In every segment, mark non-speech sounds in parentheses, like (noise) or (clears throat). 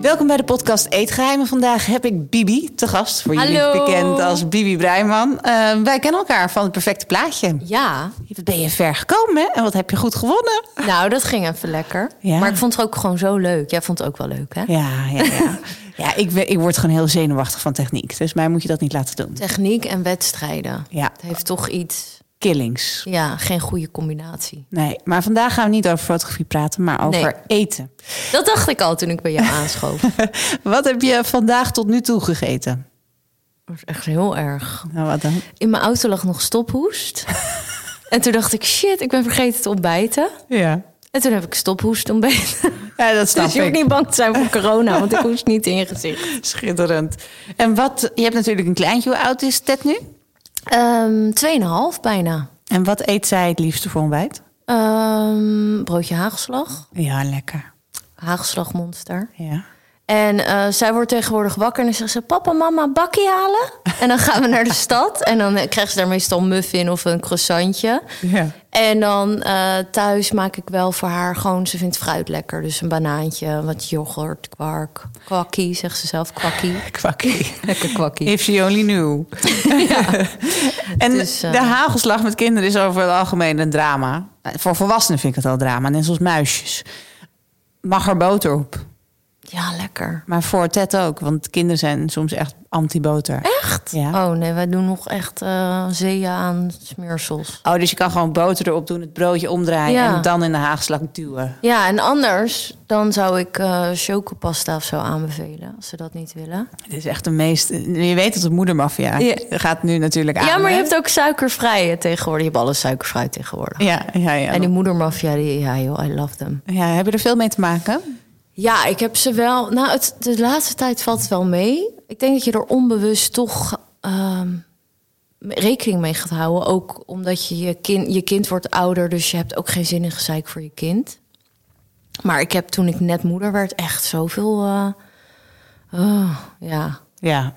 Welkom bij de podcast Eetgeheimen. Vandaag heb ik Bibi te gast. Voor jullie Hallo. bekend als Bibi Breiman. Eh, wij kennen elkaar van het perfecte plaatje. Ja, Wat ben je ver gekomen hè? en wat heb je goed gewonnen? nou, dat ging even lekker. Ja. Maar ik vond het ook gewoon zo leuk. Jij vond het ook wel leuk, hè? Ja, ja, (laughs) ja. ja ik, ben- ik word gewoon heel zenuwachtig van techniek. Dus mij moet je dat niet laten doen. Techniek en wedstrijden. Ja, Het heeft toch iets, killings. ja, geen goede combinatie. Nee, maar vandaag gaan we niet over fotografie praten, maar over Nee. eten. (laughs) Dat dacht ik al toen ik bij jou aanschoof. Dat Wat heb je vandaag tot nu toe gegeten? was echt heel erg. Nou, wat dan? In mijn auto lag nog stophoest. En toen dacht ik, shit, ik ben vergeten te ontbijten. Ja, En toen heb ik stophoest ontbeten. (laughs) ja dat snap Dus je hoeft ik. niet bang te zijn voor corona, want ik hoest niet in je gezicht. Schitterend. En wat, je hebt natuurlijk een kleintje. Hoe oud is Ted nu? Ehm, Tweeënhalf bijna. En wat eet zij het liefste voor ontbijt? Ehm, broodje haagslag. Ja, lekker. Haagslagmonster. Ja. En eh, zij wordt tegenwoordig wakker en dan zegt ze... papa, mama, bakkie halen? En dan gaan we naar de stad. En dan eh, krijgt ze daar meestal een muffin of een croissantje. (laughs) ja. En dan eh, thuis maak ik wel voor haar gewoon... ze vindt fruit lekker, dus een banaantje, wat yoghurt, kwark. Kwakkie, zegt ze zelf, kwakkie. Kwakkie. Lekker kwakkie. If she only (laughs) knew. (laughs) en Dus, eh, de hagelslag met kinderen is over het algemeen een drama. Eh, Voor volwassenen vind ik het al drama, net zoals muisjes. Mag er boter op. Ja, lekker. Maar voor Ted ook, want kinderen zijn soms echt anti-boter. Echt? Ja. Oh nee, wij doen nog echt eh, zeeën aan smeersels. Oh, dus je kan gewoon boter erop doen, het broodje omdraaien Ja. en dan in de haagslag duwen. Ja, en anders dan zou ik eh chocopasta of zo aanbevelen... als ze dat niet willen. Dit is echt de meest. Je weet dat het moedermafia Ja. gaat nu natuurlijk aan. Ja, maar je hè? hebt ook suikervrije tegenwoordig. Je hebt alles suikervrij tegenwoordig. Ja, ja, ja. En die moedermafia, die, ja joh, I love them. ja, heb je er veel mee te maken? Ja, ik heb ze wel... Nou, het, de laatste tijd valt het wel mee. Ik denk dat je er onbewust toch ehm, rekening mee gaat houden. Ook omdat je, je, kind, je kind wordt ouder, dus je hebt ook geen zin in gezeik voor je kind. Maar ik heb toen ik net moeder werd echt zoveel... eh, oh, ja, Ja.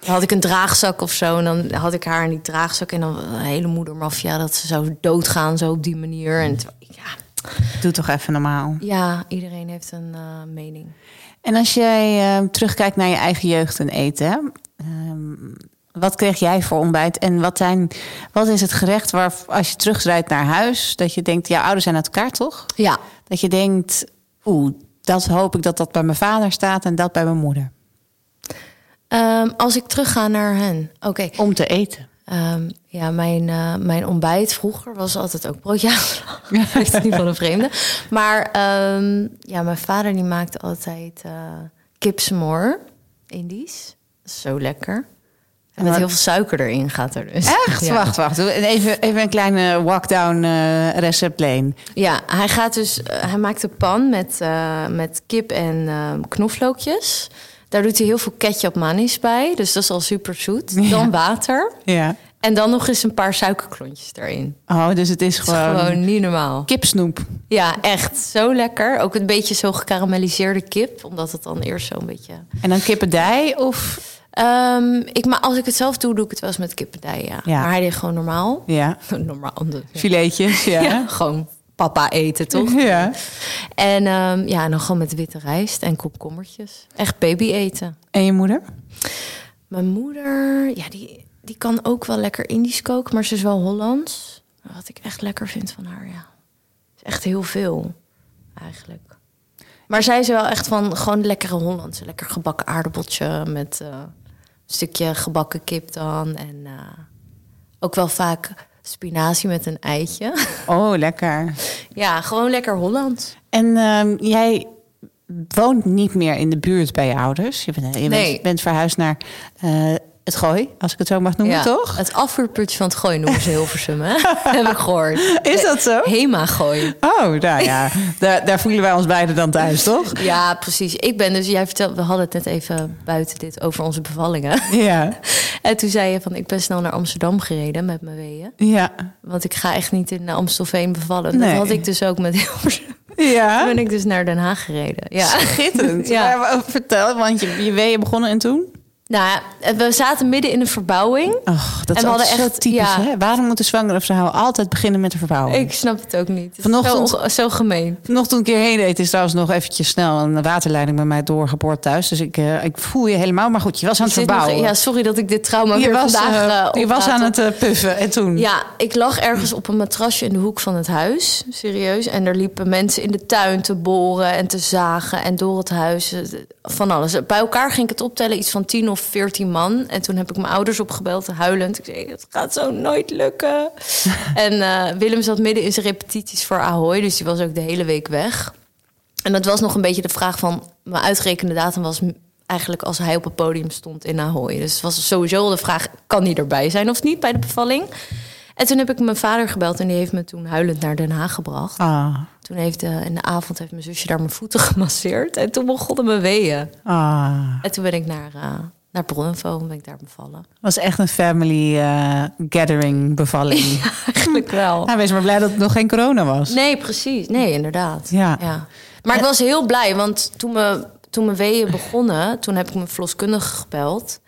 Dan had ik een draagzak of zo. En dan had ik haar in die draagzak. En dan een hele moedermafia dat ze zou doodgaan zo op die manier. En terwijl- ja, Doe toch even normaal. ja, iedereen heeft een eh, mening. En als jij eh, terugkijkt naar je eigen jeugd en eten, hè, ehm, wat kreeg jij voor ontbijt? En wat, zijn, wat is het gerecht waar, als je terugrijdt naar huis, dat je denkt, jouw ouders zijn uit elkaar toch? Ja, Dat je denkt, oeh, dat hoop ik dat dat bij mijn vader staat en dat bij mijn moeder. ehm, als ik terugga naar hen. Oké. Om te eten. Ehm, ja, mijn, eh, mijn ontbijt vroeger was altijd ook broodje (laughs) aanslag. Ik weet het niet van een vreemde. Maar ehm, ja, mijn vader die maakte altijd eh kipsmoor, Indisch. Zo lekker. En met wat- heel veel suiker erin gaat er dus. Echt? (laughs) Ja. Wacht, wacht. Doe Even, even een kleine walkdown eh recept lane. Ja, hij gaat dus. eh, hij maakt een pan met, eh, met kip en eh, knoflookjes. Daar doet hij heel veel ketchup manis bij. Dus dat is al super zoet. Dan water. Ja. En dan nog eens een paar suikerklontjes erin. Oh, dus het is Dat is gewoon, gewoon niet normaal. kipsnoep. Ja, echt. Zo lekker. Ook een beetje zo gekarameliseerde kip. Omdat het dan eerst zo'n beetje. En dan kippendij of... Ehm, ik, maar als ik het zelf doe, doe ik het wel eens met kippendij. Ja. Ja. Maar hij deed gewoon normaal. (laughs) Ja, normaal. Ja. filetjes. Ja. Ja, gewoon papa (laughs) eten, toch? ja. En ehm, ja, en dan gewoon met witte rijst en komkommertjes. Echt baby eten. En je moeder? Mijn moeder, ja, die, die kan ook wel lekker Indisch koken, maar ze is wel Hollands. Wat ik echt lekker vind van haar, ja. Is echt heel veel, eigenlijk. Maar zij is wel echt van gewoon lekkere Hollandse. Lekker gebakken aardappeltje met eh, een stukje gebakken kip dan. En eh, ook wel vaak spinazie met een eitje. (laughs) Oh, lekker. ja, gewoon lekker Hollands. En ehm, jij woont niet meer in de buurt bij je ouders. Je bent, je bent, Nee. bent verhuisd naar eh, het gooi, als ik het zo mag noemen, Ja, toch? Het afvoerputje van het gooi noemen ze Hilversum, (laughs) hè? Heb ik gehoord. Is dat zo? Hema gooi. Oh, nou (laughs) ja, daar, daar voelen wij ons beiden dan thuis, toch? Ja, precies. Ik ben dus, jij vertelde, we hadden het net even buiten dit over onze bevallingen. (laughs) Ja, En toen zei je van, ik ben snel naar Amsterdam gereden met mijn weeën. ja, Want ik ga echt niet in naar Amstelveen bevallen. Dat Nee. had ik dus ook met (laughs) Hilversum. Toen ja. ben ik dus naar Den Haag gereden. Ja. (laughs) Schitterend. (laughs) Ja. Maar eh, vertel, want je, je weet je begonnen en toen? Nou ja, we zaten midden in een verbouwing. Och, dat En is we hadden altijd zo echt- typisch, ja. hè? Waarom moeten zwangere vrouwen altijd beginnen met de verbouwing? Ik snap het ook niet. Het is Vanochtend- Zo, zo gemeen. Nog toen ik hierheen deed, is trouwens nog eventjes snel een waterleiding bij mij doorgeboord thuis. Dus ik, eh, ik voel je helemaal. Maar goed, je was aan het Je zit nog- verbouwen. ja, sorry dat ik dit trauma je weer was, vandaag eh, eh, je was opraap. aan het eh, puffen. En toen? Ja, ik lag ergens op een matrasje in de hoek van het huis, serieus. En er liepen mensen in de tuin te boren en te zagen en door het huis, eh, van alles. Bij elkaar ging ik het optellen, iets van 10 of 14 man. En toen heb ik mijn ouders opgebeld, huilend. Ik zei, het gaat zo nooit lukken. en eh, Willem zat midden in zijn repetities voor Ahoy, dus die was ook de hele week weg. En dat was nog een beetje de vraag van... Mijn uitgerekende datum was m- eigenlijk als hij op het podium stond in Ahoy. Dus het was sowieso al de vraag, kan hij erbij zijn of niet bij de bevalling? En toen heb ik mijn vader gebeld en die heeft me toen huilend naar Den Haag gebracht. Ah, Toen heeft eh, in de avond heeft mijn zusje daar mijn voeten (laughs) gemasseerd. En toen begonnen mijn weeën. ah. En toen ben ik naar, eh naar Bronfo en ben ik daar bevallen. (laughs) was echt een family eh, gathering bevalling. Eigenlijk wel. Nou, wees maar blij dat het nog geen corona was. Nee, precies. Nee, inderdaad. Ja. Maar ik was heel blij, want toen, me, toen mijn weeën begonnen... toen heb ik mijn verloskundige gebeld.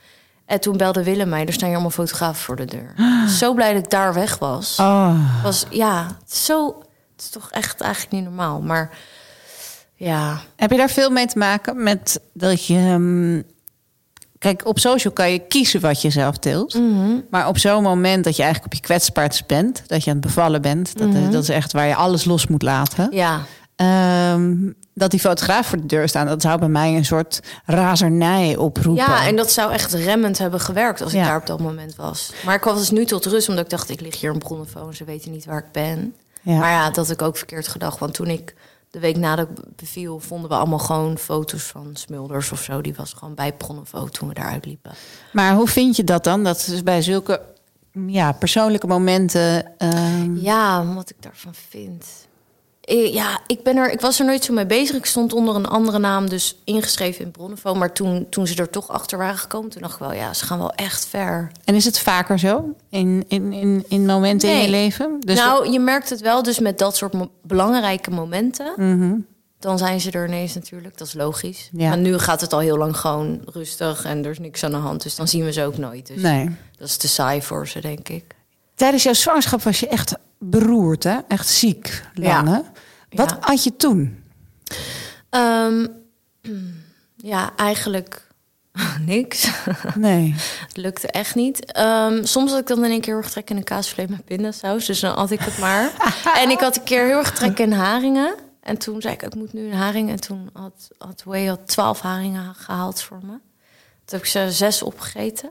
En toen belde Willem mij, er staan hier allemaal fotografen voor de deur. Zo blij dat ik daar weg was. Oh, was ja, het is zo... Het is toch echt eigenlijk niet normaal, maar... Ja, heb je daar veel mee te maken met dat je... ehm, kijk, op social kan je kiezen wat je zelf tilt. Mhm. Maar op zo'n moment dat je eigenlijk op je kwetsbaarst bent... dat je aan het bevallen bent... dat, dat is echt waar je alles los moet laten. Mhm. ja. Ehm, dat die fotograaf voor de deur staan, dat zou bij mij een soort razernij oproepen. ja, en dat zou echt remmend hebben gewerkt als ik Ja. daar op dat moment was. Maar ik was dus nu tot rust, omdat ik dacht... ik lig hier in Bronnefoon, ze weten niet waar ik ben. Ja. Maar ja, dat had ik ook verkeerd gedacht. Want toen ik de week nadat ik beviel, vonden we allemaal gewoon foto's van Smulders of zo. Die was gewoon bij Pronovo toen we daaruit liepen. Maar hoe vind je dat dan? Dat is bij zulke ja, persoonlijke momenten. ehm, Ja, wat ik daarvan vind. Eh, Ja, ik, ben er, ik was er nooit zo mee bezig. Ik stond onder een andere naam, dus ingeschreven in Bronnevo. Maar toen, toen ze er toch achter waren gekomen, toen dacht ik wel, ja, ze gaan wel echt ver. en is het vaker zo in, in, in, in momenten in Nee. je leven? Dus nou, je merkt het wel dus met dat soort mo- belangrijke momenten. Dan zijn ze er ineens natuurlijk, dat is logisch. Mhm. Ja. Maar nu gaat het al heel lang gewoon rustig en er is niks aan de hand. Dus dan zien we ze ook nooit. Dus nee. dat is te saai voor ze, denk ik. Tijdens jouw zwangerschap was je echt beroerd, hè? Echt ziek, lang, Ja. hè? Wat Ja. had je toen? Ehm, (clears throat) ja, eigenlijk (laughs) niks. Nee. het lukte echt niet. Ehm, soms had ik dan in één keer heel erg trek in een kaasvlees met pindasaus. Dus dan at ik het maar. en ik had een keer heel erg trek in haringen. En toen zei ik, ik moet nu een haring. En toen had, had Way had twaalf haringen gehaald voor me. Toen heb ik ze zes opgegeten.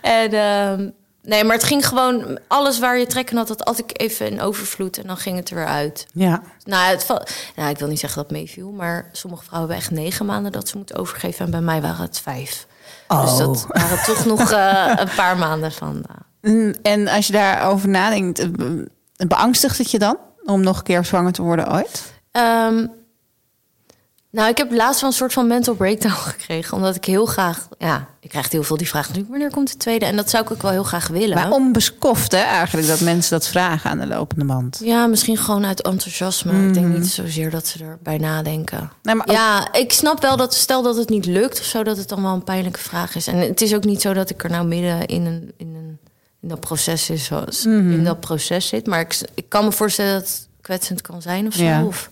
en ehm, nee, maar het ging gewoon... Alles waar je trek in had, dat at ik even in overvloed. En dan ging het er weer uit. Ja. Nou, het val- nou, ik wil niet zeggen dat het meeviel, maar sommige vrouwen hebben echt negen maanden dat ze moeten overgeven. En bij mij waren het vijf. Dus Oh. dat waren toch (laughs) nog eh, een paar maanden van. eh, Mm, En als je daarover nadenkt, eh, be- beangstigt het je dan om nog een keer zwanger te worden ooit? Ehm, nou, ik heb laatst wel een soort van mental breakdown (laughs) gekregen. Omdat ik heel graag... Ja, ik krijg heel veel die vraag natuurlijk. Wanneer komt de tweede? En dat zou ik ook wel heel graag willen. Maar onbeskoft, hè, eigenlijk, dat mensen dat vragen aan de lopende mand. Ja, misschien gewoon uit enthousiasme. Ik denk niet zozeer dat ze erbij nadenken. Mhm. Nee, maar ook- ja, ik snap wel dat stel dat het niet lukt of zo, dat het dan wel een pijnlijke vraag is. En het is ook niet zo dat ik er nou midden in een, in een in dat proces is, zoals Mhm. in dat proces zit. Maar ik, ik kan me voorstellen dat het kwetsend kan zijn of zo. Ja. Of,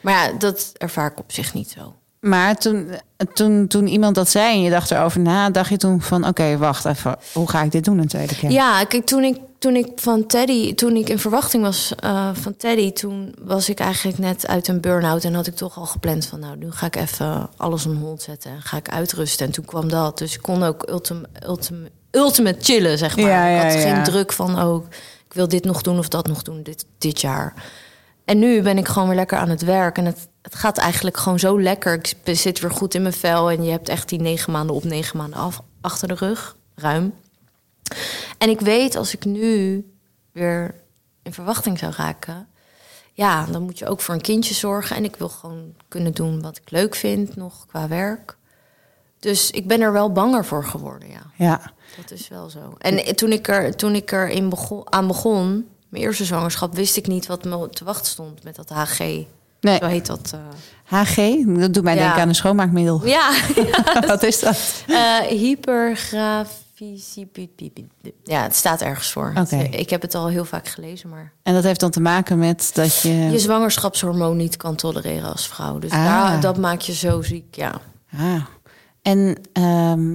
maar ja, dat ervaar ik op zich niet zo. Maar toen, eh, toen, toen iemand dat zei en je dacht erover na, dacht je toen van... oké, wacht even, hoe ga ik dit doen een tweede keer? Ja, kijk, toen ik, toen ik van Teddy, toen ik in verwachting was eh, van Teddy, toen was ik eigenlijk net uit een burn-out en had ik toch al gepland van, nou, nu ga ik even alles on hold zetten en ga ik uitrusten. En toen kwam dat, dus ik kon ook ultim, ultim, ultimate chillen, zeg maar. Ja, ik ja, had ja. geen druk van, ook ik wil dit nog doen of dat nog doen dit, dit jaar. En nu ben ik gewoon weer lekker aan het werk en het, het gaat eigenlijk gewoon zo lekker. Ik zit weer goed in mijn vel en je hebt echt die negen maanden op, negen maanden af achter de rug, ruim. En ik weet als ik nu weer in verwachting zou raken, ja, dan moet je ook voor een kindje zorgen. En ik wil gewoon kunnen doen wat ik leuk vind nog qua werk. Dus ik ben er wel banger voor geworden, ja. Ja. Dat is wel zo. En toen ik er, toen ik er in begon, aan begon, mijn eerste zwangerschap, wist ik niet wat me te wachten stond met dat HG. Eh. Nee, Zo heet dat. eh. HG, dat doet mij Ja. denken aan een schoonmaakmiddel. (laughs) Ja, (laughs) Wat is dat? Eh hypergrafische- Ja, het staat ergens voor. Oké. Ik heb het al heel vaak gelezen, maar En dat heeft dan te maken met dat je... je zwangerschapshormoon niet kan tolereren als vrouw. Dus Ah. daar, dat maakt je zo ziek, ja. Ah. En ehm,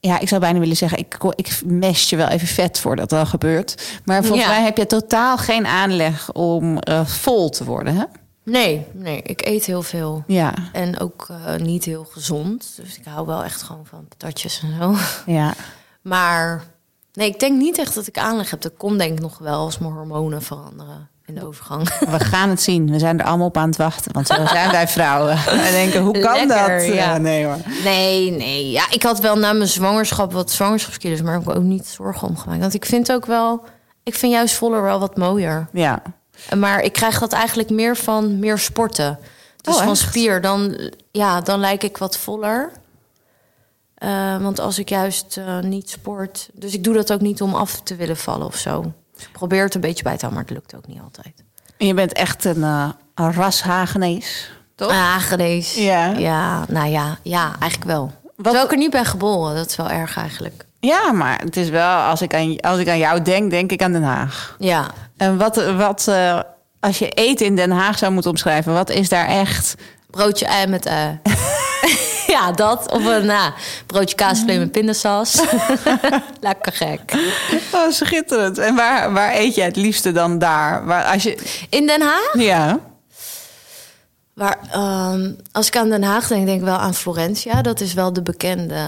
ja, ik zou bijna willen zeggen, ik, ko- ik mest je wel even vet voor dat al gebeurt. Maar volgens Ja. mij heb je totaal geen aanleg om eh, vol te worden, hè? Nee, nee, ik eet heel veel. Ja, En ook eh, niet heel gezond. Dus ik hou wel echt gewoon van patatjes en zo. ja. Maar nee, ik denk niet echt dat ik aanleg heb. Dat komt denk ik nog wel als mijn hormonen veranderen in de overgang. (laughs) We gaan het zien. We zijn er allemaal op aan het wachten. Want zo zijn wij vrouwen. En denken, hoe kan Lekker, dat? ja. nee hoor. Nee, nee. Ja, ik had wel na mijn zwangerschap wat zwangerschapskilo's, maar ik heb ook niet zorgen om gemaakt. Want ik vind ook wel, ik vind juist voller wel wat mooier. Ja. Maar ik krijg dat eigenlijk meer van meer sporten. Dus Oh, van echt? spier, dan, ja, dan lijk ik wat voller. Eh, want als ik juist eh, niet sport. Dus ik doe dat ook niet om af te willen vallen of zo. Dus ik probeer het een beetje bij te houden, maar het lukt ook niet altijd. En je bent echt een, eh, een ras Hagenees, toch? Ah, genees. Ja. ja, nou ja, ja, eigenlijk wel. Terwijl ik er niet ben geboren, dat is wel erg eigenlijk. Ja, maar het is wel, als ik, aan, als ik aan jou denk, denk ik aan Den Haag. Ja, En wat, wat eh, als je eten in Den Haag zou moeten omschrijven, wat is daar (laughs) echt? broodje ei met ei. (laughs) ja, dat. Of een nou, broodje kaasvlees met pindasaus. (laughs) Lekker gek. Oh, schitterend. En waar, waar eet je het liefste dan daar? Waar, als je, In Den Haag? ja. Waar, ehm, als ik aan Den Haag denk, denk ik wel aan Florentia. Dat is wel de bekende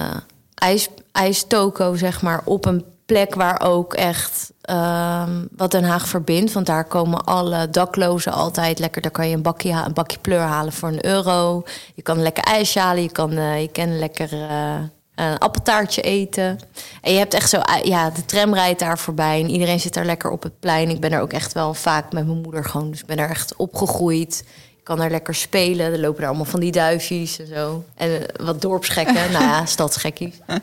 ijs, ijstoko, zeg maar, op een plek waar ook echt ehm, wat Den Haag verbindt. Want daar komen alle daklozen altijd lekker. Daar kan je een bakje, ha- een bakje pleur halen voor een euro. Je kan lekker ijsje halen. Je kan, eh, je kan lekker eh, een appeltaartje eten. En je hebt echt zo, eh, ja, de tram rijdt daar voorbij. En iedereen zit daar lekker op het plein. Ik ben er ook echt wel vaak met mijn moeder gewoon. Dus ik ben er echt opgegroeid. Ik kan daar lekker spelen. Er lopen daar allemaal van die duifjes en zo. En eh, wat dorpsgekken. (laughs) nou ja, stadsgekkies. En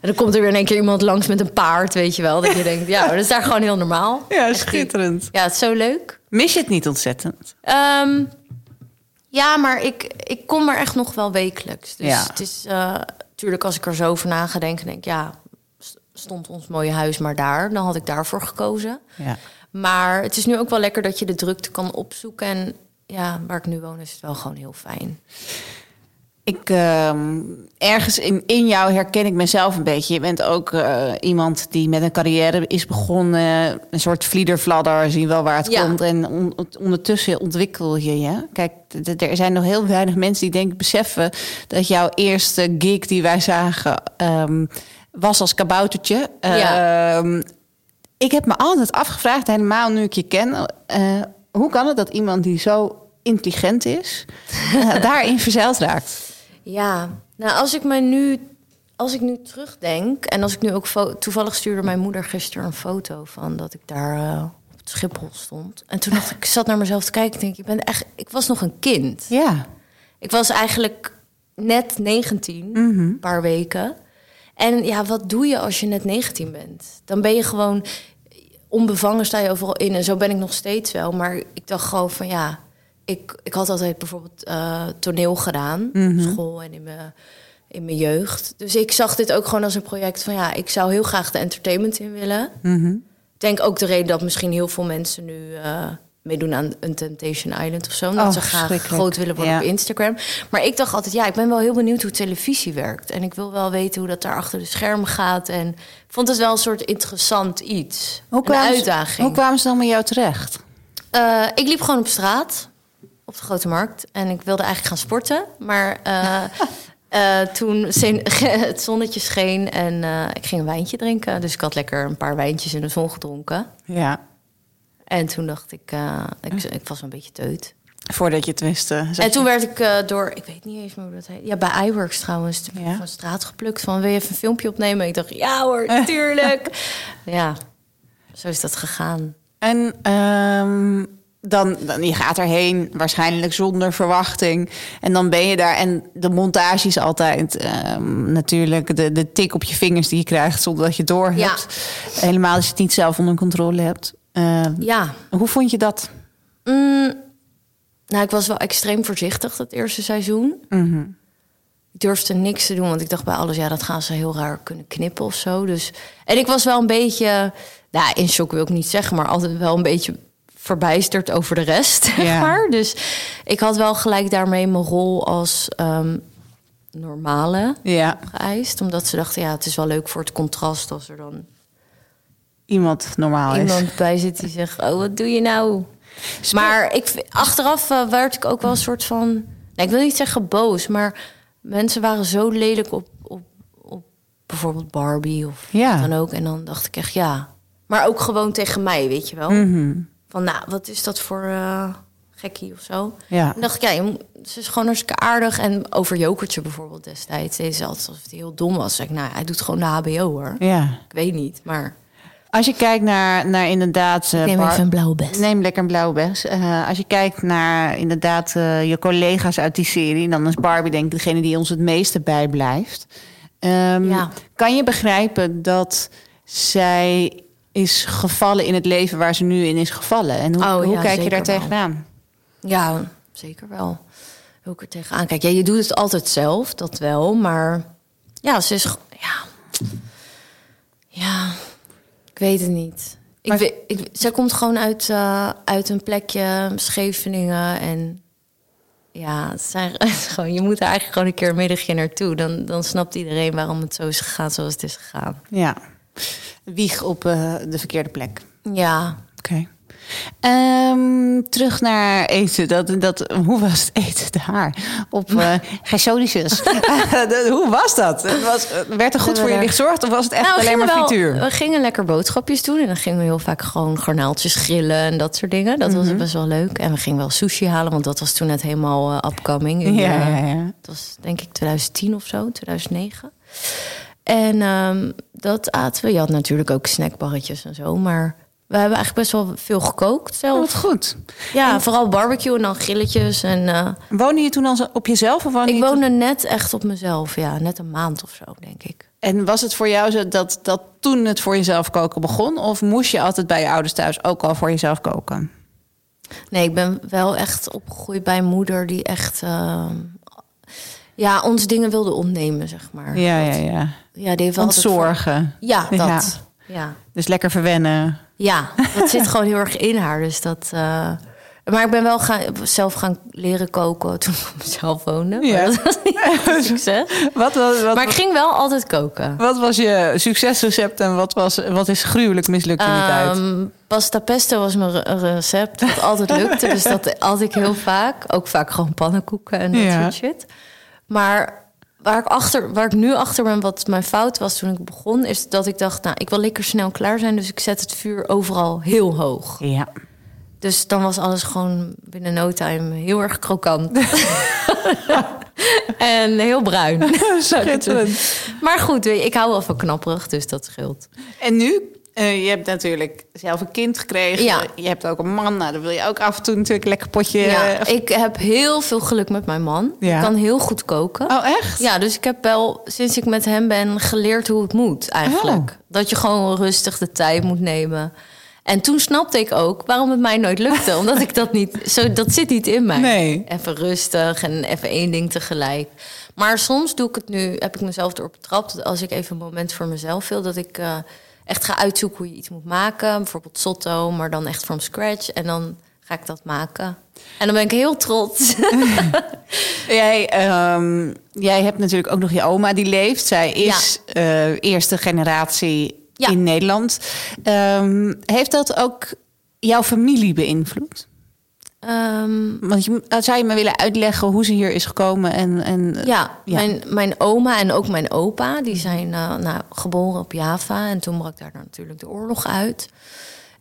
dan komt er weer in één keer iemand langs met een paard, weet je wel. Dat (laughs) je denkt, ja, dat is daar gewoon heel normaal. Ja, Echt die- schitterend. Ja, het is zo leuk. Mis je het niet ontzettend? Ehm, ja, maar ik, ik kom er echt nog wel wekelijks. Dus Ja. het is natuurlijk als ik er zo over na ga denken, denk ik, ja, st- stond ons mooie huis maar daar. Dan had ik daarvoor gekozen. Ja. Maar het is nu ook wel lekker dat je de drukte kan opzoeken. En ja, waar ik nu woon is het wel gewoon heel fijn. Ik, ehm, ergens in, in jou herken ik mezelf een beetje. Je bent ook eh, iemand die met een carrière is begonnen. Een soort vliedervladder, zie je wel waar het Ja. komt. En on- on- ondertussen ontwikkel je je. Kijk, d- d- er zijn nog heel weinig mensen die denk ik beseffen... dat jouw eerste gig die wij zagen ehm, was als kaboutertje. Ja. Ehm, ik heb me altijd afgevraagd, helemaal nu ik je ken... eh, hoe kan het dat iemand die zo intelligent (laughs) is, eh, daarin verzeild raakt? Ja, nou als ik me nu, als ik nu terugdenk en als ik nu ook fo- toevallig stuurde mijn moeder gisteren een foto van dat ik daar eh, op het Schiphol stond. En toen dacht ik, ik zat naar mezelf te kijken, ik denk ik ben echt, ik was nog een kind. Ja. Ik was eigenlijk net 19, Mhm. een paar weken. En ja, wat doe je als je net 19 bent? Dan ben je gewoon onbevangen, sta je overal in. En zo ben ik nog steeds wel. Maar ik dacht gewoon van ja, ik, ik had altijd bijvoorbeeld eh, toneel gedaan Mhm. op school en in mijn, in mijn jeugd. Dus ik zag dit ook gewoon als een project van ja, ik zou heel graag de entertainment in willen. Mhm. Ik denk ook de reden dat misschien heel veel mensen nu eh, meedoen aan een Temptation Island of zo. Omdat Oh, ze graag verschrikkelijk. groot willen worden Ja. op Instagram. Maar ik dacht altijd, ja, ik ben wel heel benieuwd hoe televisie werkt. En ik wil wel weten hoe dat daar achter de schermen gaat. En ik vond het wel een soort interessant iets. een Ze, uitdaging. hoe kwamen ze dan met jou terecht? Eh, ik liep gewoon op straat, op de Grote Markt. En ik wilde eigenlijk gaan sporten. Maar eh, (laughs) eh, toen zin- (laughs) het zonnetje scheen en eh, ik ging een wijntje drinken. Dus ik had lekker een paar wijntjes in de zon gedronken. Ja. En toen dacht ik, eh, ik, ik was een beetje teut. Voordat je het wist. eh, zat En toen je- werd ik eh, door, ik weet niet eens meer hoe dat heet. Ja, bij iWorks trouwens. Toen werd ik Ja. van straat geplukt van, wil je even een filmpje opnemen? Ik dacht, ja (laughs) hoor, tuurlijk. ja, zo is dat gegaan. En ehm, dan, dan, je gaat erheen, waarschijnlijk zonder verwachting. En dan ben je daar. En de montage is altijd ehm, natuurlijk de, de tik op je vingers die je krijgt zonder dat je het door Ja. hebt. Helemaal als je het niet zelf onder controle hebt. Ehm, Ja, Hoe vond je dat? Mm, nou, ik was wel extreem voorzichtig dat eerste seizoen. Ik durfde niks te doen, want ik dacht bij alles, ja, dat gaan ze heel raar kunnen knippen of zo. Dus... En ik was wel een beetje, nou, in shock wil ik niet zeggen, maar altijd wel een beetje verbijsterd over de rest. (laughs) Ja. zeg maar. Dus ik had wel gelijk daarmee mijn rol als ehm, normale Ja, geëist, omdat ze dachten, ja, het is wel leuk voor het contrast als er dan iemand normaal is. iemand bij zit die zegt: Oh, wat doe je nou? Maar ik, v- achteraf eh, werd ik ook wel een soort van. nou, ik wil niet zeggen boos, maar mensen waren zo lelijk op, op, op bijvoorbeeld Barbie of Ja. wat dan ook. En dan dacht ik echt ja. Maar ook gewoon tegen mij, weet je wel. Van nou, wat is dat voor eh, gekkie of zo? Ja. En dacht ik, ja, je moet- ze is gewoon hartstikke aardig. En over Jokertje bijvoorbeeld destijds. Deze ze altijd alsof het heel dom was. Zeg ik, nou, hij doet gewoon de HBO hoor. Ja. Ik weet niet, maar. Als je kijkt naar, naar inderdaad... eh, Neem Bar- even een blauwe best. Neem lekker een blauwe bes. Eh, als je kijkt naar inderdaad eh, je collega's uit die serie... dan is Barbie denk ik degene die ons het meeste bijblijft. Ehm, Ja. Kan je begrijpen dat zij is gevallen in het leven waar ze nu in is gevallen? En hoe, Oh, hoe ja, kijk je zeker daar wel. tegenaan? Ja, zeker wel. Hoe ik er tegenaan kijk. Ja, je doet het altijd zelf, dat wel. Maar ja, ze is... ge- Ja, ja ik weet het niet. Ik Maar- weet, ik, zij komt gewoon uit, eh, uit een plekje, Scheveningen. En ja, het zijn, (laughs) het is gewoon, je moet er eigenlijk gewoon een keer een middagje naartoe. Dan, dan snapt iedereen waarom het zo is gegaan zoals het is gegaan. Ja. Wieg op eh, de verkeerde plek. Ja, Oké. Ehm, terug naar eten. Dat, dat, hoe was het eten daar? Op (laughs) eh Gersonisus. (laughs) Dat- hoe was dat? Het was, werd er goed voor jullie gezorgd of was het echt we alleen maar gingen Nou, wel- frituur? We gingen lekker boodschapjes doen. En dan gingen we heel vaak gewoon garnaaltjes grillen en dat soort dingen. Dat Mhm. was best wel leuk. En we gingen wel sushi halen, want dat was toen net helemaal eh, upcoming. In, Ja, eh, ja, ja. Dat was denk ik 2010 of zo, 2009. En ehm, dat aten we. Je had natuurlijk ook snackbarretjes en zo, maar... We hebben eigenlijk best wel veel gekookt Oh, zelf. wat goed. Ja, vooral barbecue en dan grilletjes. En, eh, Woonde je toen al op jezelf? Of woonde ik je woonde net echt op mezelf. Ja, net een maand of zo, denk ik. toen- En was het voor jou zo dat, dat toen het voor jezelf koken begon? Of moest je altijd bij je ouders thuis ook al voor jezelf koken? Nee, ik ben wel echt opgegroeid bij een moeder die echt... ehm, ja, ons dingen wilde ontnemen, zeg maar. Ja, ja, ja. Ja, die heeft wel altijd Ontzorgen. voor- Ja, Ja. dat. Ja. Dus lekker verwennen. Ja. dat (laughs) zit gewoon heel erg in haar. Dus dat... eh, maar ik ben wel gaan, zelf gaan leren koken toen ik op mezelf woonde. Maar Ja. Dat was niet (laughs) echt een succes. Wat, wat, wat, Maar ik ging wel altijd koken. Wat was je succesrecept en wat, was, wat is gruwelijk mislukt in die tijd? Ehm, pasta pesto was mijn re- recept, dat altijd lukte. dus dat had ik heel vaak. Ook vaak gewoon pannenkoeken en dat Ja. soort shit. Maar waar ik, achter, waar ik nu achter ben, wat mijn fout was toen ik begon... is dat ik dacht, nou, ik wil lekker snel klaar zijn... dus ik zet het vuur overal heel hoog. Ja. Dus dan was alles gewoon binnen no time heel erg krokant. (laughs) en heel bruin. (laughs) Schitterend. Maar goed, weet je, ik hou wel van knapperig, dus dat scheelt. En nu? Eh, je hebt natuurlijk zelf een kind gekregen. Ja. Je hebt ook een man. Nou, dan wil je ook af en toe natuurlijk een lekker potje. Ja, eh, ik heb heel veel geluk met mijn man. Ja. Ik kan heel goed koken. Oh, echt? Ja, dus ik heb wel sinds ik met hem ben geleerd hoe het moet eigenlijk. Oh. Dat je gewoon rustig de tijd moet nemen. En toen snapte ik ook waarom het mij nooit (laughs) lukte. omdat ik dat niet... Zo, dat zit niet in mij. Nee. Even rustig en even één ding tegelijk. Maar soms doe ik het nu... Heb ik mezelf erop betrapt dat als ik even een moment voor mezelf wil... dat ik eh, echt ga uitzoeken hoe je iets moet maken. Bijvoorbeeld sotto, maar dan echt from scratch. En dan ga ik dat maken. En dan ben ik heel trots. (laughs) Jij, ehm, jij hebt natuurlijk ook nog je oma die leeft. Zij is eh, eerste generatie Ja. in Nederland. Ehm, heeft dat ook jouw familie beïnvloed? Ehm, Want je, moet- zou je me willen uitleggen hoe ze hier is gekomen? En, en, Ja, eh, ja. Mijn, mijn oma en ook mijn opa, die zijn eh, nou, geboren op Java. En toen brak daar natuurlijk de oorlog uit.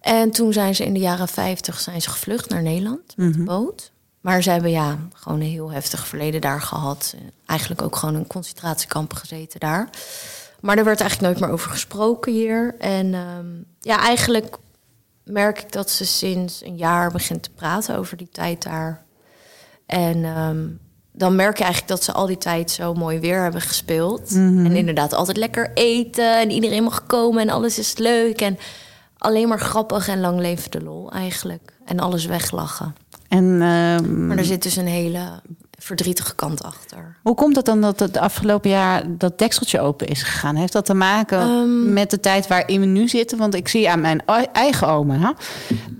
En toen zijn ze in de jaren 50 zijn ze gevlucht naar Nederland met de boot. Maar ze hebben ja, gewoon een heel heftig verleden daar gehad. En Eigenlijk ook gewoon in concentratiekampen gezeten daar. Maar er werd eigenlijk nooit meer over gesproken hier. En ehm, ja, eigenlijk merk ik dat ze sinds een jaar begint te praten over die tijd daar. En ehm, dan merk je eigenlijk dat ze al die tijd zo mooi weer hebben gespeeld. En inderdaad altijd lekker eten en iedereen mag komen en alles is leuk. En alleen maar grappig en lang leven de lol eigenlijk. En alles weglachen. En ehm, Maar er zit dus een hele verdrietige kant achter. hoe komt het dan dat het afgelopen jaar dat dekseltje open is gegaan? Heeft dat te maken Ehm. met de tijd waarin we nu zitten? Want ik zie aan mijn o- eigen oma,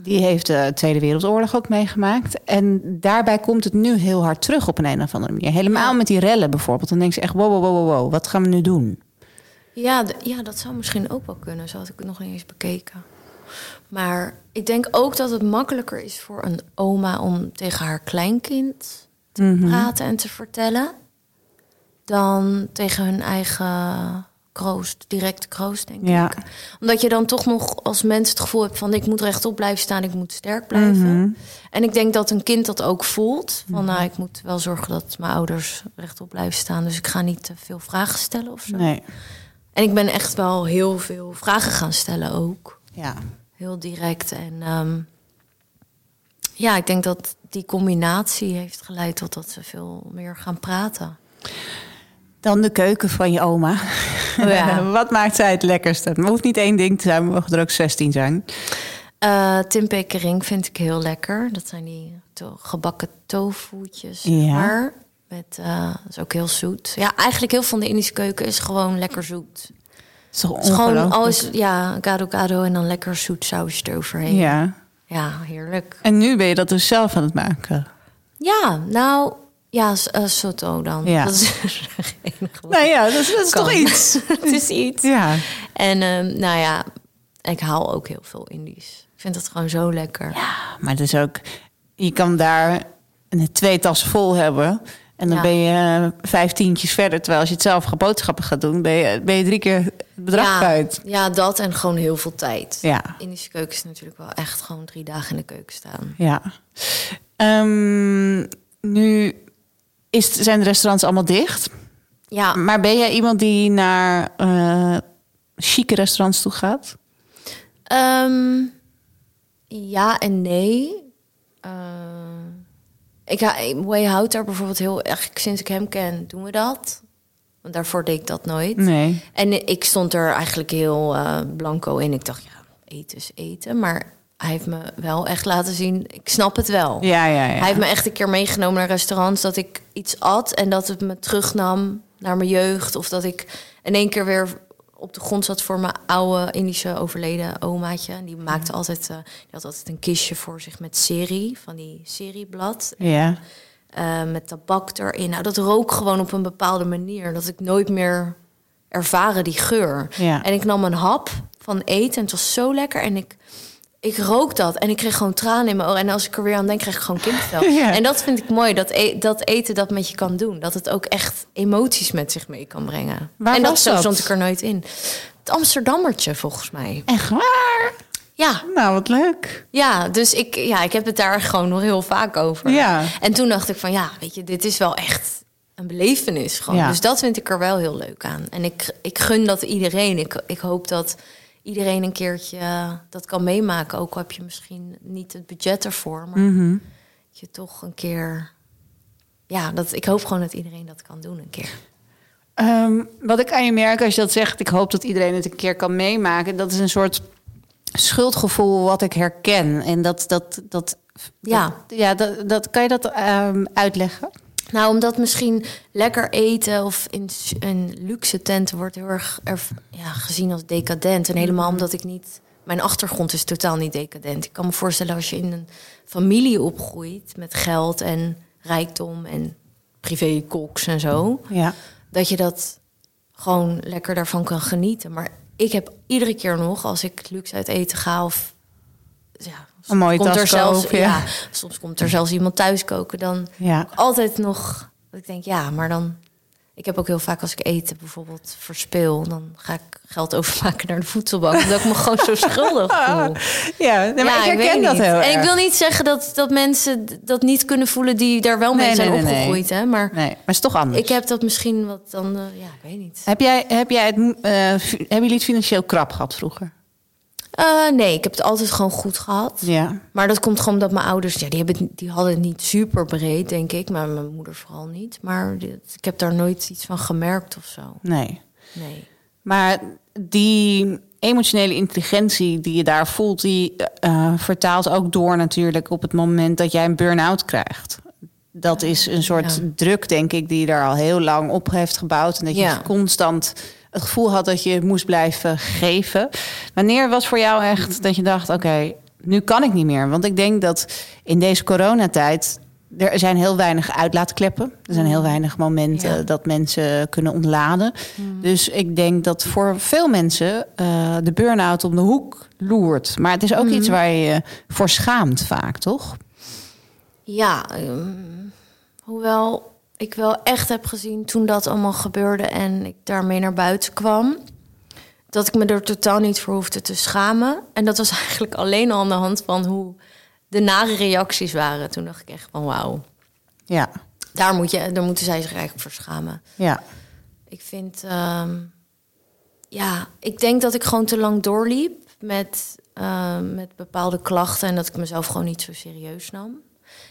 die heeft de Tweede Wereldoorlog ook meegemaakt. En daarbij komt het nu heel hard terug op een, een of andere manier. Helemaal met die rellen bijvoorbeeld. Dan denk je echt, wow, wow, wow, wow, wow, wat gaan we nu doen? Ja, d- ja, dat zou misschien ook wel kunnen. Zo had ik het nog niet eens bekeken. Maar ik denk ook dat het makkelijker is voor een oma om tegen haar kleinkind te praten en te vertellen. Dan tegen hun eigen kroost, directe kroost, denk Ja. ik. Omdat je dan toch nog als mens het gevoel hebt van... ik moet rechtop blijven staan, ik moet sterk blijven. En ik denk dat een kind dat ook voelt. Van nou, ik moet wel zorgen dat mijn ouders rechtop blijven staan. Dus ik ga niet te veel vragen stellen of zo. Nee. En ik ben echt wel heel veel vragen gaan stellen ook. Ja. Heel direct. En ehm, ja, ik denk dat die combinatie heeft geleid tot dat ze veel meer gaan praten. Dan de keuken van je (laughs) oma. Oh (laughs) ja. Wat maakt zij het lekkerste? Het hoeft niet één ding te zijn, maar mogen er ook 16 zijn. Eh timpekering vind ik heel lekker. Dat zijn die to- gebakken tofu'tjes. zeg Ja. maar. Met, eh, dat is ook heel zoet. Ja, eigenlijk heel veel van de Indische keuken is gewoon lekker zoet. Het is toch Het is gewoon ongelooflijk? alles, ja, gado gado en dan lekker zoet sausje eroverheen. Ja. ja heerlijk. En nu ben je dat dus zelf aan het maken. Ja, nou, ja, s- eh, Soto dan. Ja. Dat is (laughs) het enige wat Nou ja, dat, is- dat is Kan. toch (laughs) iets. het is iets. Ja. En ehm, nou ja, ik haal ook heel veel Indisch. Ik vind dat gewoon zo lekker. Ja, Maar het is ook, je kan daar een twee tas vol hebben. En dan Ja. ben je eh, vijftientjes verder. Terwijl als je het zelf boodschappen gaat doen, ben je, ben je drie keer het bedrag kwijt. Ja, dat en gewoon heel veel tijd. Ja. Indische keuken is natuurlijk wel echt gewoon drie dagen in de keuken staan. Ja. Ehm, nu is, zijn de restaurants allemaal dicht. Ja, Maar ben jij iemand die naar eh chique restaurants toe gaat? Ehm, ja en nee. Eh, ik, ha- Way houdt daar bijvoorbeeld heel... Eigenlijk sinds ik hem ken, doen we dat. Want daarvoor deed ik dat nooit. Nee. En ik stond er eigenlijk heel eh, blanco in. Ik dacht, ja, eten is eten. Maar hij heeft me wel echt laten zien... Ik snap het wel. Ja, ja, ja. Hij heeft me echt een keer meegenomen naar restaurants... dat ik iets at en dat het me terugnam naar mijn jeugd. Of dat ik in één keer weer op de grond zat voor mijn oude Indische overleden omaatje. En die maakte altijd, eh, die had altijd een kistje voor zich met serie, van die serieblad. Ja. Eh, met tabak erin. Nou, dat rook gewoon op een bepaalde manier. Dat ik nooit meer ervaren die geur. Ja. En ik nam een hap van eten en het was zo lekker. En ik, ik rook dat en ik kreeg gewoon tranen in mijn ogen. En als ik er weer aan denk, krijg ik gewoon kippenvel. (laughs) Ja. En dat vind ik mooi, dat, e- dat eten dat met je kan doen. Dat het ook echt emoties met zich mee kan brengen. Waar en was zo dat? stond ik er nooit in. Het Amsterdammertje, volgens mij. Echt waar? Ja, Nou, wat leuk. ja, dus ik, ja, ik heb het daar gewoon nog heel vaak over. Ja. En toen dacht ik van ja, weet je, dit is wel echt een belevenis gewoon. Ja. Dus dat vind ik er wel heel leuk aan. En ik, ik gun dat iedereen. Ik, ik hoop dat iedereen een keertje dat kan meemaken. Ook al heb je misschien niet het budget ervoor. Maar Mhm. dat je toch een keer... Ja, dat, ik hoop gewoon dat iedereen dat kan doen een keer. Ehm, wat ik aan je merk als je dat zegt, ik hoop dat iedereen het een keer kan meemaken. Dat is een soort schuldgevoel wat ik herken. En dat, dat, dat, Ja. dat- ja dat, dat, kan je dat ehm, uitleggen? Nou, omdat misschien lekker eten of in s- een luxe tent wordt heel erg erv- ja, gezien als decadent. En helemaal omdat ik niet. Mijn achtergrond is totaal niet decadent. Ik kan me voorstellen als je in een familie opgroeit met geld en rijkdom en privékoks en zo. Ja. Dat je dat gewoon lekker daarvan kan genieten. Maar ik heb iedere keer nog, als ik luxe uit eten ga of ja, soms mooie tas zelfs, kopen, ja. ja, soms komt er zelfs iemand thuis koken, dan Ja. altijd nog. dat Ik denk, ja, maar dan. Ik Ik heb ook heel vaak als ik eten bijvoorbeeld verspil, dan ga ik geld (laughs) overmaken naar de voedselbank. Omdat ik me gewoon zo schuldig voel. (laughs) Ja, nee, maar Ja, ik herken weet dat niet. heel erg. En ik wil niet zeggen dat, dat mensen d- dat niet kunnen voelen die daar wel mee Nee, zijn nee, nee, nee. opgegroeid. Hè? Maar Nee, maar het is toch anders. ik heb dat misschien wat dan, eh, ja, ik weet niet. Heb jij, heb jij het, mo- eh, fi- hebben jullie het financieel krap gehad vroeger? Eh, nee, ik heb het altijd gewoon goed gehad. Ja. Maar dat komt gewoon omdat mijn ouders, ja, die, hebben het, die hadden het niet super breed, denk ik. Maar mijn moeder vooral niet. Maar dit- ik heb daar nooit iets van gemerkt of zo. Nee. Nee. Maar die emotionele intelligentie die je daar voelt, die eh, vertaalt ook door natuurlijk op het moment dat jij een burn-out krijgt. Dat is een soort Ja. druk, denk ik, die je daar al heel lang op heeft gebouwd. En dat je Ja. constant het gevoel had dat je moest blijven geven. Wanneer was voor jou echt dat je dacht, oké, nu kan ik niet meer? Want ik denk dat in deze coronatijd, er zijn heel weinig uitlaatkleppen. Er zijn heel weinig momenten Ja. Mm. dat mensen kunnen ontladen. Dus ik denk dat voor veel mensen eh, de burn-out om de hoek loert. Maar het is Mm. ook iets waar je je voor schaamt vaak, toch? Ja, ehm, hoewel ik wel echt heb gezien toen dat allemaal gebeurde en ik daarmee naar buiten kwam, dat ik me er totaal niet voor hoefde te schamen. En dat was (laughs) eigenlijk alleen al aan de hand van hoe de nare reacties waren. Toen dacht ik echt van wauw, Ja, daar, moet je, daar moeten zij zich eigenlijk voor schamen. ja. Ik vind, ehm, ja, ik denk dat ik gewoon te lang doorliep met, ehm, met bepaalde klachten en dat ik mezelf gewoon niet zo serieus nam.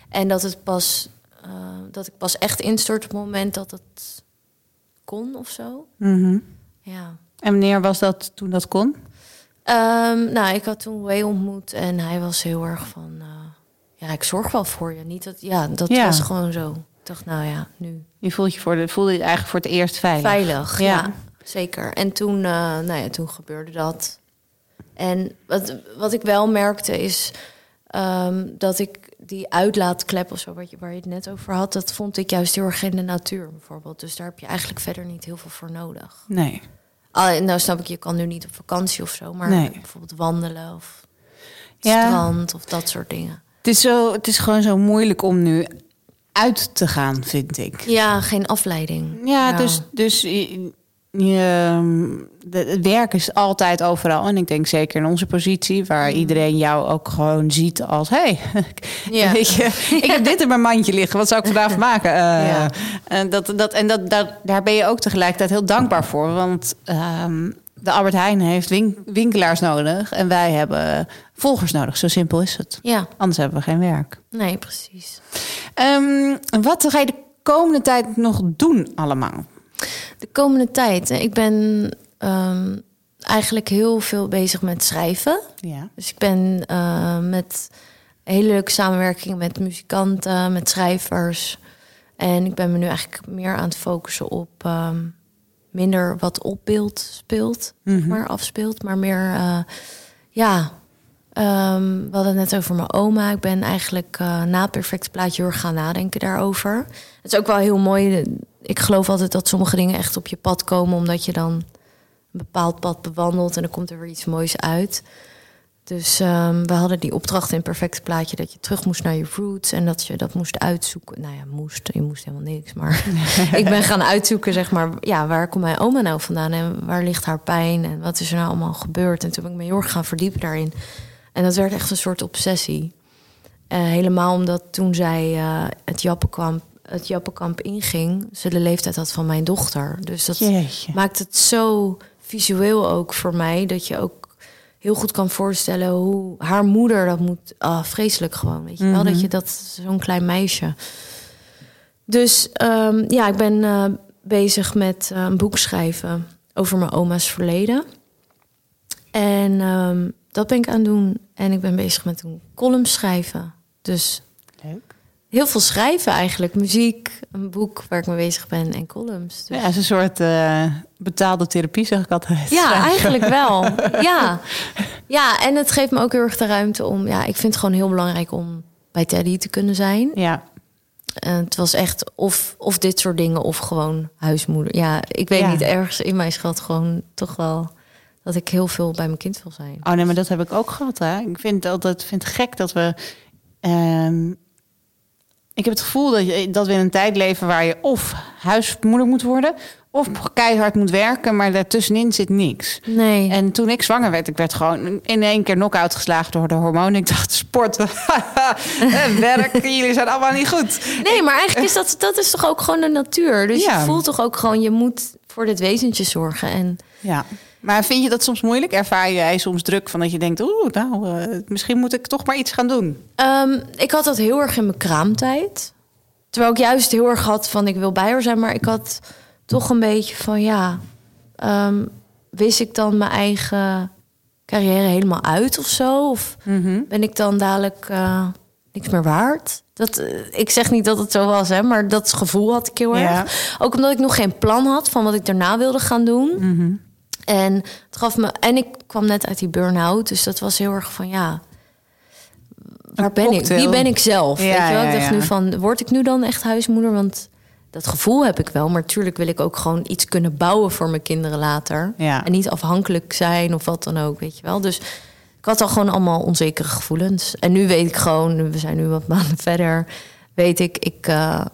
En dat het pas, eh, dat ik pas echt instort op het moment dat het kon of zo. Mhm. Ja. En wanneer was dat toen dat kon? Ehm, nou, ik had toen Way ontmoet en hij was heel erg van, eh, ja, ik zorg wel voor je. Niet dat, ja, dat Ja. was gewoon zo. Ik dacht, nou ja, nu. Je voelde je, voor de, voelde je eigenlijk voor het eerst veilig. Veilig, Ja. ja. Zeker. En toen, eh, nou ja, toen gebeurde dat. En wat, wat ik wel merkte is ehm, dat ik die uitlaatklep of zo, wat je, waar je het net over had, dat vond ik juist heel erg in de natuur bijvoorbeeld. Dus daar heb je eigenlijk verder niet heel veel voor nodig. Nee. Ah, nou snap ik, je kan nu niet op vakantie of zo, maar Nee. bijvoorbeeld wandelen of het Ja. strand of dat soort dingen. Het is, zo, het is gewoon zo moeilijk om nu uit te gaan, vind ik. Ja, geen afleiding. Ja, dus, dus je, je- de- het werk is altijd overal. En ik denk zeker in onze positie, Mm. waar iedereen jou ook gewoon ziet als... hey, (laughs) Ja. weet je, ik heb dit in mijn mandje liggen, wat zou ik (laughs) vandaag maken? Eh, Ja. en dat, dat, en dat, dat, daar ben je ook tegelijkertijd heel dankbaar voor. Want ehm, de Albert Heijn heeft win- winkelaars nodig en wij hebben volgers nodig. Zo simpel is het. Ja, Anders hebben we geen werk. nee, precies. Ehm, wat ga je de komende tijd nog doen allemaal? De komende tijd. eh, Ik ben ehm, eigenlijk heel veel bezig met schrijven. Ja. Dus ik ben eh, met hele leuke samenwerkingen met muzikanten, met schrijvers. En ik ben me nu eigenlijk meer aan het focussen op ehm, minder wat op beeld speelt, zeg maar afspeelt, maar meer, eh, ja. ehm, we hadden het net over mijn oma. Ik ben eigenlijk eh, na het perfect plaatje heel erg gaan nadenken daarover. Het is ook wel heel mooi. Ik geloof altijd dat sommige dingen echt op je pad komen, omdat je dan een bepaald pad bewandelt en dan komt er weer iets moois uit. Dus ehm, we hadden die opdracht in het perfecte plaatje dat je terug moest naar je roots en dat je dat moest uitzoeken. Nou ja, moest, je moest helemaal niks, maar ik ben gaan uitzoeken, zeg maar, ja, waar komt mijn oma nou vandaan en waar ligt haar pijn en wat is er nou allemaal gebeurd? En toen ben ik me heel erg gaan verdiepen daarin. En dat werd echt een soort obsessie. Eh, helemaal omdat toen zij eh, het, Jappenkamp, het Jappenkamp inging, ze de leeftijd had van mijn dochter. Dus dat, Jeetje. maakt het zo visueel ook voor mij dat je ook heel goed kan voorstellen hoe haar moeder dat moet. Ah, vreselijk gewoon, weet je wel, dat je dat zo'n klein meisje. Dus ehm, ja, ik ben eh, bezig met eh, een boek schrijven over mijn oma's verleden. En ehm, dat ben ik aan het doen. En ik ben bezig met een column schrijven. Dus Leuk. heel veel schrijven eigenlijk. Muziek, een boek waar ik mee bezig ben en columns. Dus- Ja, het is een soort eh, betaalde therapie, zeg ik altijd. Ja, (laughs) eigenlijk wel. Ja. ja, en het geeft me ook heel erg de ruimte om. Ja, ik vind het gewoon heel belangrijk om bij Teddy te kunnen zijn. Ja, En het was echt of, of dit soort dingen of gewoon huismoeder. Ja, ik weet Ja. niet, ergens in mij schat gewoon toch wel dat ik heel veel bij mijn kind wil zijn. Oh nee, maar dat heb ik ook gehad. Hè. Ik vind het altijd vind het gek dat we. ehm, Ik heb het gevoel dat, je- dat we in een tijd leven waar je of huismoeder moet worden... of keihard moet werken, maar daartussenin zit niks. Nee. En toen ik zwanger werd, ik werd gewoon in één keer knock-out geslagen door de hormonen. Ik dacht, sport, (laughs) eh, werk, jullie zijn allemaal niet goed. nee, maar eigenlijk is dat, dat is toch ook gewoon de natuur. Dus Ja. je voelt toch ook gewoon, je moet voor dit wezentje zorgen. En Ja. Maar vind je dat soms moeilijk? Ervaar jij soms druk van dat je denkt, oeh, nou, eh, misschien moet ik toch maar iets gaan doen? Ehm, ik had dat heel erg in mijn kraamtijd. Terwijl ik juist heel erg had van ik wil bij haar zijn, maar ik had toch een beetje van ja, ehm, wist ik dan mijn eigen carrière helemaal uit of zo? Of ben ik dan dadelijk eh, niks meer waard? Dat, eh, ik zeg niet dat het zo was, hè, maar dat gevoel had ik heel Ja. erg. Ook omdat ik nog geen plan had van wat ik daarna wilde gaan doen. En het gaf me. En ik kwam net uit die burn-out. Dus dat was heel erg van ja. Waar ben ik? cocktail. Wie ben ik zelf? Ja, weet je wel? Ik ja, dacht ja. nu van, word ik nu dan echt huismoeder? Want dat gevoel heb ik wel. Maar natuurlijk wil ik ook gewoon iets kunnen bouwen voor mijn kinderen later. Ja. En niet afhankelijk zijn of wat dan ook, weet je wel. Dus ik had al gewoon allemaal onzekere gevoelens. En nu weet ik gewoon, we zijn nu wat maanden (laughs) verder. Weet ik, ik, eh,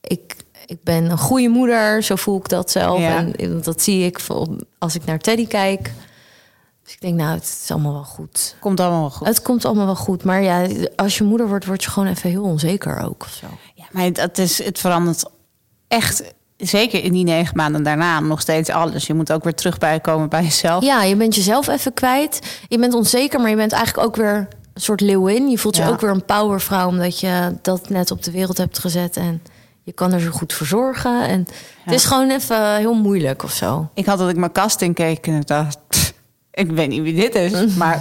ik, ik ben een goede moeder. Zo voel ik dat zelf. Ja. En want dat zie ik voor- als ik naar Teddy kijk. Dus ik denk, nou, het is allemaal wel goed. Komt allemaal wel goed. Het komt allemaal wel goed. Maar ja, als je moeder wordt, word je gewoon even heel onzeker ook. Of zo. Ja, maar dat is, het verandert echt, zeker in die negen maanden daarna, nog steeds alles. Je moet ook weer terug bijkomen bij jezelf. Ja, je bent jezelf even kwijt. Je bent onzeker, maar je bent eigenlijk ook weer een soort leeuwin. Je voelt Ja. je ook weer een powervrouw, omdat je dat net op de wereld hebt gezet. En je kan er zo goed voor zorgen. En Ja. Het is gewoon even heel moeilijk of zo. Ik had dat ik mijn kast in keek en ik dacht, (laughs) "Pff, ik weet niet wie dit is, (laughs) maar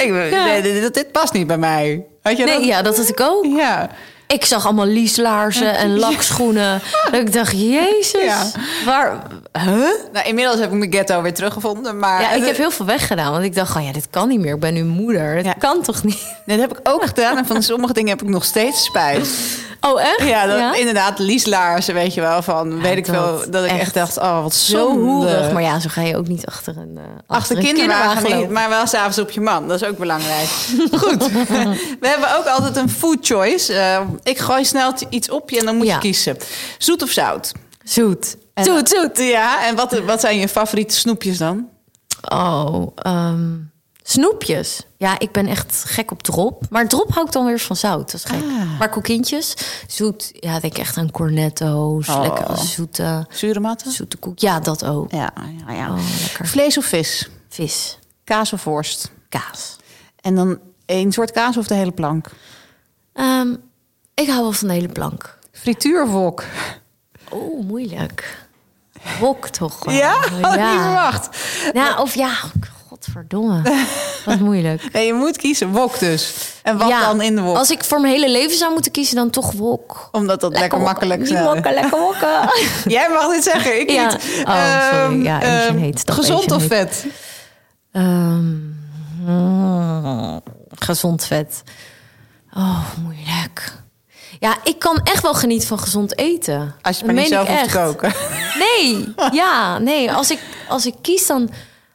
ik, weet- nee, dit, dit past niet bij mij. Had je Nee, dat? ja, dat had ik ook. Ja. Ik zag allemaal lieslaarzen en lakschoenen. Dat ik dacht, jezus, Ja. waar... Huh? Nou, inmiddels heb ik mijn ghetto weer teruggevonden, maar Ja, (laughs) ik heb heel veel weggedaan, want ik dacht, oh ja, dit kan niet meer. Ik ben nu moeder, dat Ja. kan toch niet? dat heb ik ook gedaan en (laughs) van sommige dingen heb ik nog steeds spijt. Oh, echt? Ja, dat, inderdaad, lieslaarzen, weet je wel, van weet ik dat wel, dat ik echt, echt dacht, oh, wat Zo hoerig. Maar Maar ja, zo ga je ook niet achter een, eh Achter een kinderwagen, niet, lopen. maar wel s'avonds op je man. Dat is ook (laughs) belangrijk. Goed. (laughs) We hebben ook altijd een food choice. Eh, ik gooi snel iets op je en dan moet Ja. je kiezen. Zoet of zout? Zoet. En- Zoet, zoet. Ja, en wat, wat zijn je favoriete snoepjes dan? Oh, ehm, snoepjes. Ja, ik ben echt gek op drop. Maar drop hou ik dan weer van zout. Dat is gek. Ah. Maar koekientjes, zoet. Ja, denk echt aan cornetto's. Oh. Lekkere zoete, Zure matten? zoete koek. Ja, dat ook. Ja, ja, ja. Oh, lekker. Vlees of vis? Vis, Kaas of worst? kaas. En dan één soort kaas of de hele plank? Ehm, ik hou wel van de hele plank. Frituur of wok? Oh, moeilijk. Wok toch? (laughs) wel. Oh, Ja? Had ik niet verwacht. Nou, of ja, godverdomme. Wat moeilijk. Nee, je moet kiezen. Wok dus. En (laughs) wat Ja, dan in de wok? Als ik voor mijn hele leven zou moeten kiezen, dan toch wok. Omdat dat lekker, wokken. makkelijk Niet is. wokken, lekker wokken. (laughs) Jij mag dit zeggen, ik Ja. niet. Oh, sorry. Ehm, Ja, Asian ehm, hate stuff, Gezond Asian of hate. vet? Ehm, mm, gezond vet. Oh, moeilijk. Ja, ik kan echt wel genieten van gezond eten. Als je Dat maar niet meen ik zelf hoeft te echt. koken. (laughs) Nee, ja, nee. Als ik, als ik kies dan...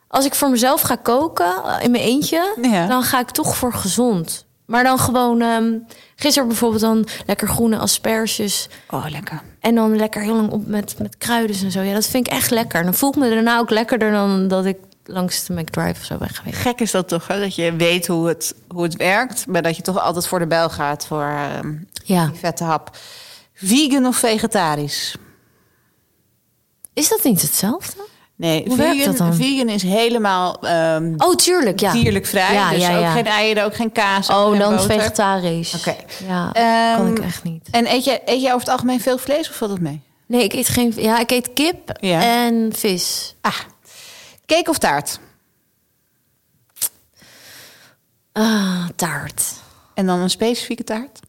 Als ik voor mezelf ga koken eh, in mijn eentje... Ja. dan ga ik toch voor gezond. Maar dan gewoon... ehm, gisteren bijvoorbeeld dan lekker groene asperges... Oh, lekker. En dan lekker heel lang op met, met kruiden en zo. Ja, dat vind ik echt lekker. En dan voel ik me daarna ook lekkerder dan dat ik langs de McDrive of zo ben geweest. Gek is dat toch, hè? dat je weet hoe het, hoe het werkt... maar dat je toch altijd voor de bel gaat voor ehm, Ja. die vette hap. Vegan of vegetarisch? Is dat niet hetzelfde? Nee, Hoe vegan, werkt dat dan? vegan is helemaal ehm, Oh, tuurlijk, ja. dierlijk vrij. Ja, dus ja, ja. ook geen eieren, ook geen kaas. ook Oh, geen dan boter. vegetarisch. Oké. Ja, Ehm, kan ik echt niet. En eet jij, eet jij over het algemeen veel vlees of valt dat mee? Nee, ik eet geen... Ja, ik eet kip Ja. en vis. Ah, cake of taart? Ah, taart. En dan een specifieke taart?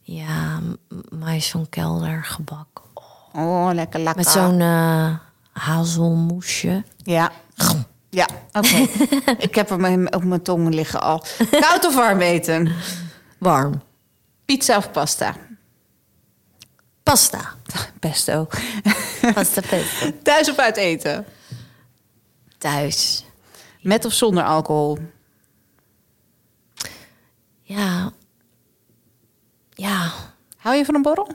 Ja, m- mais van kelder gebak. Oh, lekker lekker. Met zo'n eh, hazelmoesje. Ja. Ja, oké. (laughs) ik heb hem op mijn tong liggen al. Koud of warm eten? Warm. Pizza of pasta? Pasta. (laughs) Pesto. Pasta pesto. Thuis of uit eten? Thuis. Met of zonder alcohol? Ja. ja, Hou je van een borrel?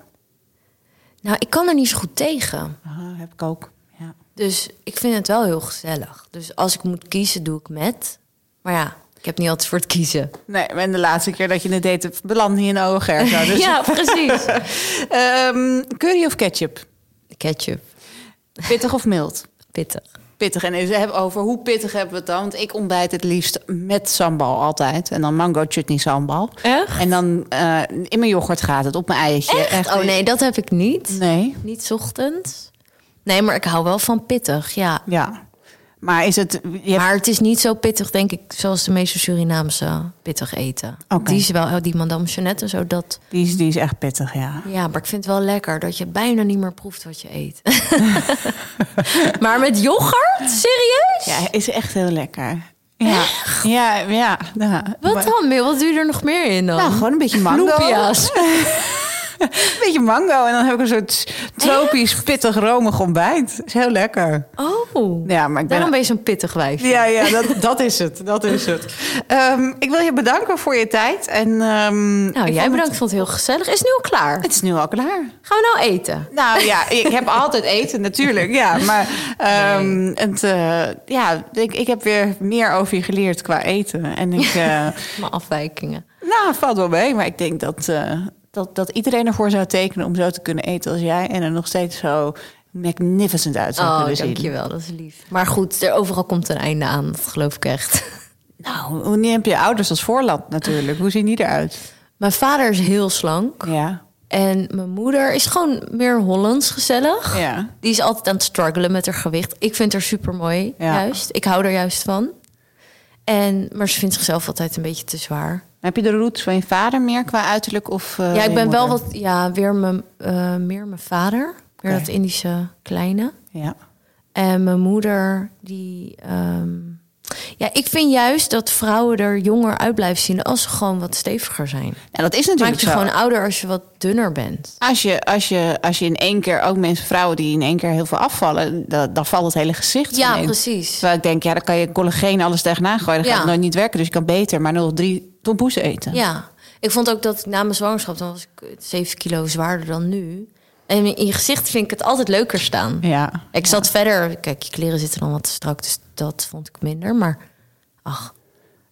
nou, ik kan er niet zo goed tegen. Ah, heb ik ook. Ja. Dus ik vind het wel heel gezellig. Dus als ik moet kiezen, doe ik met. Maar ja, ik heb niet altijd voor het kiezen. Nee, en de laatste keer dat je het deed, beland je in OGR. (laughs) zo. Dus, (laughs) Ja, precies. Ehm, curry of ketchup? Ketchup, Pittig of mild? pittig. Pittig. En even hebben over hoe pittig hebben we het dan? Want ik ontbijt het liefst met sambal altijd. En dan mango chutney sambal. Echt? En dan eh, in mijn yoghurt gaat het, op mijn eitje. Echt? Oh nee, dat heb ik niet. Nee, Niet 's ochtends. Nee, maar ik hou wel van pittig, ja. ja. Maar is het... Je hebt- Maar het is niet zo pittig, denk ik, zoals de meeste Surinaamse pittig eten. Oké. Die is wel, oh, die madame Jeannette en zo, dat... die, is, die is echt pittig, ja. Ja, maar ik vind het wel lekker dat je bijna niet meer proeft wat je (laughs) eet. maar met yoghurt? Serieus? Ja, is echt heel lekker. Ja, ja, ja. ja. Wat Maar- dan, Mil? Wat doe je er nog meer in dan? Nou, gewoon een beetje mango. (laughs) Loepia's. Een beetje mango en dan heb ik een soort tropisch, pittig, romig ontbijt. Is heel lekker. Oh, Ja, maar ik ben... daarom ben je zo'n pittig wijf. Ja, ja dat, dat is het. Dat is het. Ehm, ik wil je bedanken voor je tijd. En, ehm, ik Nou, vond jij het- bedankt, ik vond het heel gezellig. Is het nu al (laughs) klaar? Het is nu al klaar. Gaan we nou eten? Nou ja, ik (laughs) heb altijd eten natuurlijk. Ja, maar ehm, het, eh, ja, ik, ik heb weer meer over je geleerd qua eten. En (laughs) ik, eh, Mijn afwijkingen. nou, valt wel mee. Maar ik denk dat, eh, dat, dat iedereen ervoor zou tekenen om zo te kunnen eten als jij. En er nog steeds zo magnificent uit zou Oh, kunnen zien. dankjewel, dat is lief. Maar goed, er overal komt een einde aan, dat geloof ik echt. (laughs) Nou, hoe niet heb je ouders als voorland natuurlijk? Hoe zien die eruit? Mijn vader is heel slank. Ja. En mijn moeder is gewoon meer Hollands gezellig. Ja. Die is altijd aan het struggelen met haar gewicht. Ik vind haar super mooi, Ja. juist. Ik hou er juist van. En, maar ze vindt zichzelf altijd een beetje te zwaar. Heb je de roots van je vader meer qua uiterlijk? Of, eh, ja, je ik ben wel moeder? wat, ja, weer mijn, eh, meer mijn vader. Meer Oké. dat Indische kleine. Ja. En mijn moeder, die. ehm, ja, ik vind juist dat vrouwen er jonger uit blijven zien als ze gewoon wat steviger zijn. En dat is natuurlijk Maakt je zo. gewoon ouder als je wat dunner bent. Als je, als, je, als je in één keer, ook mensen, vrouwen die in één keer heel veel afvallen, da- dan valt het hele gezicht Ja, van in. precies. Terwijl ik denk, ja, dan kan je collageen alles tegenaan gooien. Dat Ja. gaat het nooit niet werken, dus je kan beter maar nog drie tompoes eten. Ja, ik vond ook dat ik na mijn zwangerschap, dan was ik 7 kilo zwaarder dan nu. En in je gezicht vind ik het altijd leuker staan. Ja. Ik zat verder, kijk, je kleren zitten dan wat te strak, dus dat vond ik minder. Maar ach,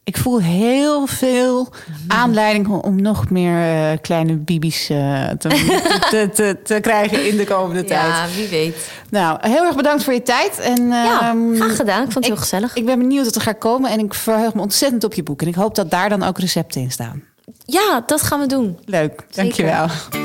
Ik voel heel veel Mhm. aanleiding om- om nog meer eh, kleine bibies eh, (laughs) te, te, te, te krijgen in de komende tijd. ja, wie weet. Nou, heel erg bedankt voor je tijd. En, Ja, ehm, graag gedaan. Ik vond het heel gezellig. Ik ben benieuwd wat er gaat komen en ik verheug me ontzettend op je boek. En ik hoop dat daar dan ook recepten in staan. Ja, dat gaan we doen. Leuk, dankjewel.